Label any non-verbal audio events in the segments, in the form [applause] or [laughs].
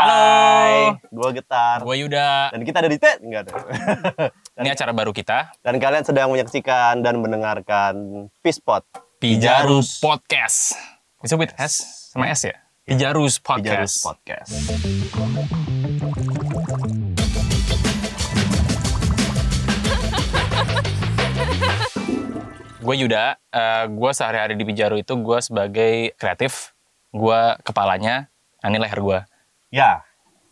Hai, gue Getar. Gue Yuda. Dan kita ada di TED, enggak ada. [laughs] Ini acara baru kita, Dan kalian sedang menyaksikan dan mendengarkan Pispot. Pijaru Pijarus. Iya. Podcast. Disebut S sama S ya? Pijarus Pijarus Podcast. Podcast. Gue Yuda, eh, gue sehari-hari di Pijaru itu gue sebagai kreatif, gue kepalanya, nah, ini leher gue. Ya,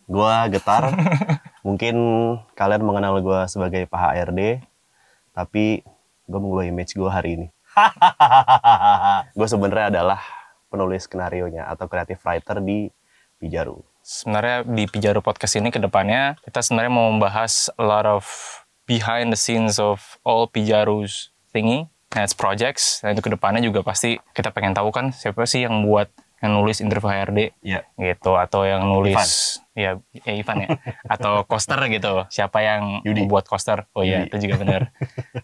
gue [laughs] Getar. Mungkin kalian mengenal gue sebagai Pak HRD, tapi gue mengubah image gue hari [laughs] ini. gue sebenarnya adalah penulis skenario-nya atau creative writer di Pijaru. Sebenarnya di Pijaru Podcast ini kedepannya kita sebenarnya mau membahas a lot of behind the scenes of all Pijaru's thingy and its projects. Dan itu kedepannya juga pasti kita pengen tahu kan siapa sih yang buat yang nulis interview HRD Ya. gitu atau yang Oh, nulis ya ya Ivan ya atau coaster gitu siapa yang Yudi. buat coaster oh iya Yudi. itu juga benar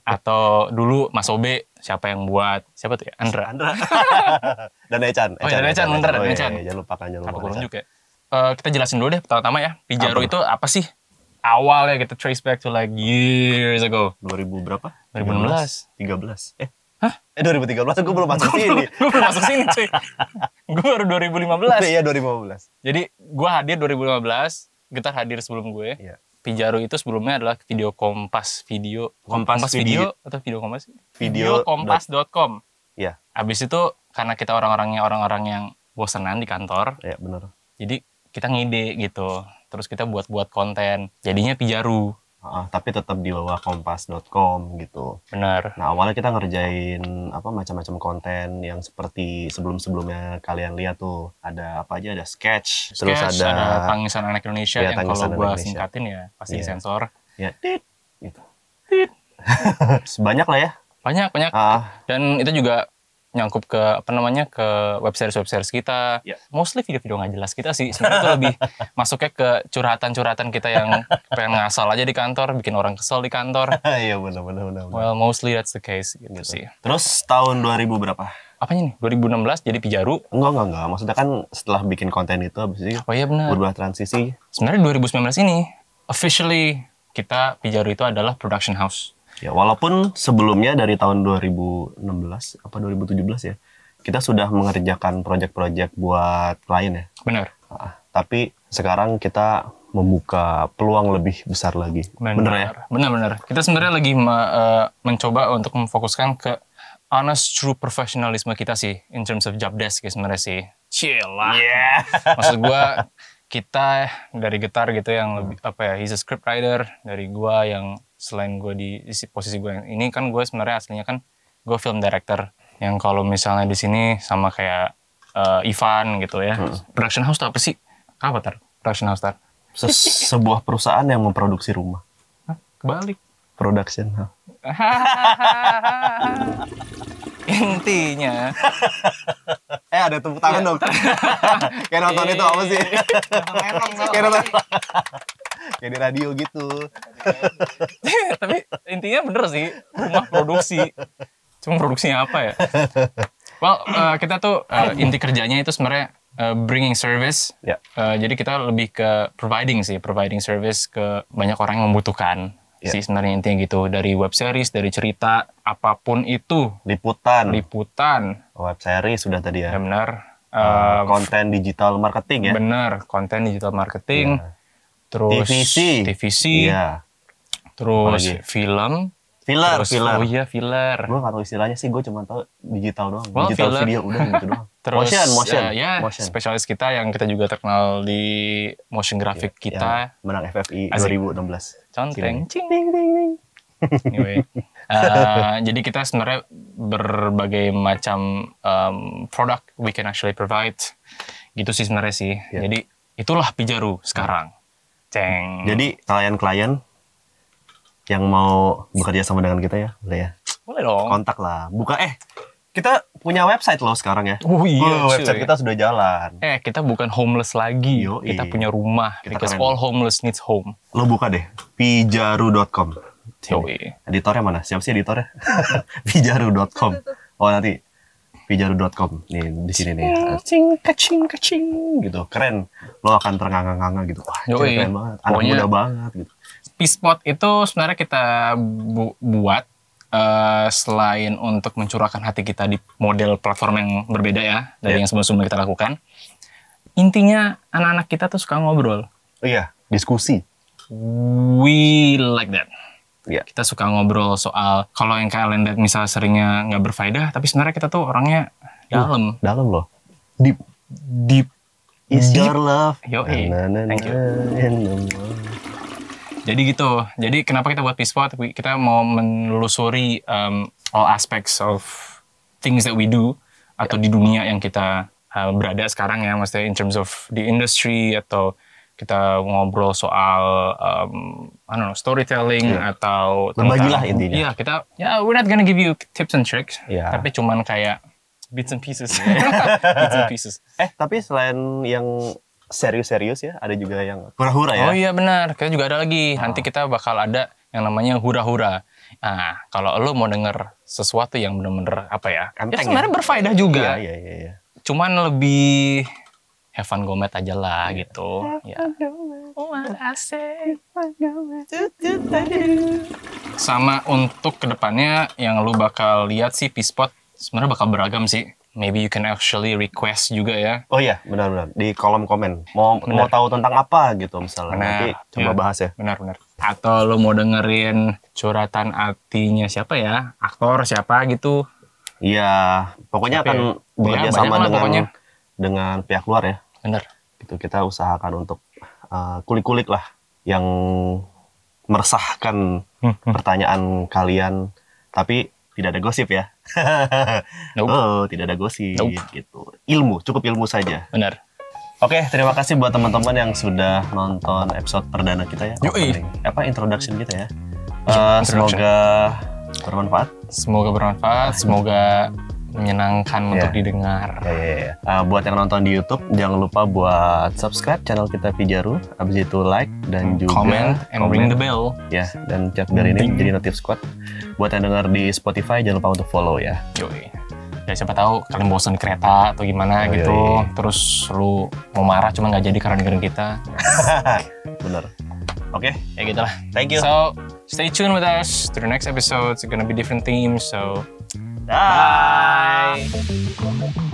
atau dulu Mas Obe siapa yang buat siapa tuh ya Andra Andra. [laughs] dan Echan. Oh iya, dan Echan, bentar, Oh iya, Echan. iya, Jangan lupakan, jangan apa lupakan kurang Echan. juga ya? Eh, kita jelasin dulu deh pertama-tama ya Pijaro Apa? itu apa sih awalnya kita trace back to like years ago 2000 berapa? 2016 13. Eh. Hah? Eh 2013 gue belum masuk sini. gue belum masuk sini cuy gue baru 2015 Iya 2015. jadi gue hadir 2015 Getar hadir sebelum gue Iya. Pijaro itu sebelumnya adalah video Kompas video Kompas video, atau video Kompas sih? Video videokompas.com. Iya. Abis itu karena kita orang-orangnya orang-orang yang bosenan di kantor, Ya benar. jadi kita ngide gitu. Terus kita buat-buat konten. Jadinya Pijaru. Ah, tapi tetap di bawah kompas.com gitu. Bener. Nah awalnya kita ngerjain apa macam-macam konten yang seperti sebelum-sebelumnya kalian lihat tuh ada apa aja ada sketch, terus Sketch, ada, tangisan anak Indonesia Iya, yang kalau tangisan gua Indonesia. singkatin ya pasti Iya. sensor. ya tit gitu. [laughs] Banyak lah ya. Banyak banyak. Ah, Dan itu juga nyangkup ke apa namanya ke web series web series kita. Iya. Mostly video-video nggak jelas kita sih. Sebenarnya itu lebih masuknya ke curhatan-curhatan kita yang pengen ngasal aja di kantor, bikin orang kesel di kantor. [laughs] iya benar-benar benar. benar. Well, mostly that's the case gitu, Gitu. sih. Terus tahun 2000 berapa? Apanya nih? 2016 jadi Pijaru. Enggak, enggak, enggak. Maksudnya kan setelah bikin konten itu habis itu Oh iya benar. berubah transisi. Sebenarnya 2019 ini officially kita Pijaru itu adalah production house. Ya, walaupun sebelumnya dari tahun 2016 apa 2017 ya, kita sudah mengerjakan proyek-proyek buat klien ya. Benar. Ah, tapi sekarang kita membuka peluang lebih besar lagi. Bener, ya? Benar benar. Kita sebenarnya lagi me- eh, mencoba untuk memfokuskan ke honest true professionalisme kita sih in terms of job desk ya sebenarnya sih. Chill lah. Iya. Maksud gua kita dari Getar gitu yang lebih apa ya, he's a script writer dari gua yang selain gua di, di si- posisi gua yang ini kan gua sebenarnya aslinya kan gua film director yang kalau misalnya di sini sama kayak eh, Ivan gitu ya. Production house tuh apa sih? Apa tar? Production house tar? Se- sebuah perusahaan yang memproduksi rumah. Hah? Kebalik. [laughs] Production house. Intinya Eh, ada tepuk tangan dong. Kayak nonton itu apa sih? Kayak nonton. Kayak di radio gitu. [laughs] Tapi intinya bener sih Rumah produksi Cuma produksinya apa ya Well eh, kita tuh eh, Inti kerjanya itu sebenarnya eh, Bringing service Ya. Eh, Jadi kita lebih ke Providing sih Providing service ke Banyak orang yang membutuhkan Ya. sih sebenarnya intinya gitu dari web series dari cerita apapun itu Liputan, liputan web series sudah tadi ya. ya benar Uh, Eh, konten digital marketing ya. Bener, konten digital marketing, Iya. terus TVC. TVC, Iya. terus Apalagi? film, Filler, terus filler. oh iya filler, Gue gak tau istilahnya sih, gue cuma tau digital doang. Well, digital Oh, filler. video udah gitu doang. [laughs] terus motion, motion, eh, ya motion. Ya, spesialis kita yang kita juga terkenal di motion graphic kita, Yang menang FFI Asik. 2016. conteng, Sini. cing ding ding ding. [laughs] Anyway, eh, jadi kita sebenarnya berbagai macam um, produk we can actually provide, gitu sih sebenarnya sih. Ya. Hmm. Jadi itulah Pijaru sekarang, ceng. Jadi klien-klien yang mau bekerja sama dengan kita ya, boleh ya. boleh dong. Kontak lah. Buka eh kita punya website loh sekarang ya. Oh Wah, cuy. website kita sudah jalan. Eh, kita bukan homeless lagi. Yoi. Kita punya rumah. Kita because keren. all homeless needs home. Lo buka deh, pijaru.com. Sini. Yoi. [laughs] Editornya mana? Siapa sih editornya? pijaru.com. Oh nanti pijaru.com nih di sini nih cing kacing kacing gitu keren lo akan terengang-engang gitu wah anjir, Yoi. keren banget anak Pokoknya- muda banget gitu P-Spot itu sebenarnya kita bu- buat eh, selain untuk mencurahkan hati kita di model platform yang berbeda ya dari Iya. yang sebelum-sebelumnya kita lakukan. Intinya anak-anak kita tuh suka oh ngobrol. iya diskusi We like that. Iya. Kita suka ngobrol soal kalau yang kalian lihat misalnya seringnya nggak berfaedah, tapi sebenarnya kita tuh orangnya dalam, dalam loh deep deep. is Deep. your love Yoi. Thank you. in the world. Jadi gitu. Jadi kenapa kita buat Peace Pod? We- Kita mau menelusuri um, all aspects of things that we do atau di dunia yang kita uh, berada sekarang ya, maksudnya in terms of the industry atau kita ngobrol soal um, I don't know storytelling Iya. atau Berbagilah tentang- intinya. Iya, kita ya we're not gonna give you tips and tricks, Iya. tapi cuman kayak bits and pieces. [laughs] bits and pieces. eh tapi selain yang serius-serius ya ada juga yang hura-hura ya Oh. Oh iya benar, kita juga ada lagi. Nanti kita bakal ada yang namanya hura-hura. Nah, kalau lo mau denger sesuatu yang bener-bener apa ya? Enteng ya ya? sebenarnya berfaedah juga. iya iya iya, iya. Cuman lebih have fun gomet aja lah Iya. gitu. Ya. Sama untuk kedepannya yang lo bakal lihat sih P-Spot sebenarnya bakal beragam sih. Maybe you can actually request juga ya. Oh iya, benar-benar di kolom komen. Mau mau Benar. tahu tentang apa gitu misalnya. Benar, Nanti coba iya. bahas ya. Benar-benar. Atau lo mau dengerin curhatan hatinya siapa ya? Aktor siapa gitu. Iya, pokoknya Tapi akan ya, bekerja banyak sama lah dengan pokoknya. dengan pihak luar ya. Bener. Gitu kita usahakan untuk uh, kulik-kulik lah yang meresahkan Hmm. pertanyaan kalian tapi tidak ada gosip ya. [laughs] Nope. Oh, tidak ada gosip Nope. gitu. Ilmu, cukup ilmu saja. Bener. Oke, terima kasih buat teman-teman yang sudah nonton episode perdana kita ya. Yoi. Opening. Apa introduction kita ya? Iya, Eh, introduction. semoga bermanfaat. Semoga bermanfaat, semoga menyenangkan untuk Iya. didengar. Ya, ya, ya. Eh, buat yang nonton di YouTube, jangan lupa buat subscribe channel kita Pijaru. Abis itu like dan juga Hmm, Comment and ring the bell. Ya, dan cek biar ini Ding. jadi notif squad. Buat yang dengar di Spotify, jangan lupa untuk follow ya. Yoi. Ya siapa tahu kalian bosan di kereta atau gimana Yoi. gitu, terus lu mau marah cuma nggak jadi karena dengerin kita. Bener. Oke, Ya gitu lah. thank you. So stay tuned with us to the next episode. It's gonna be different themes. So Bye. bye.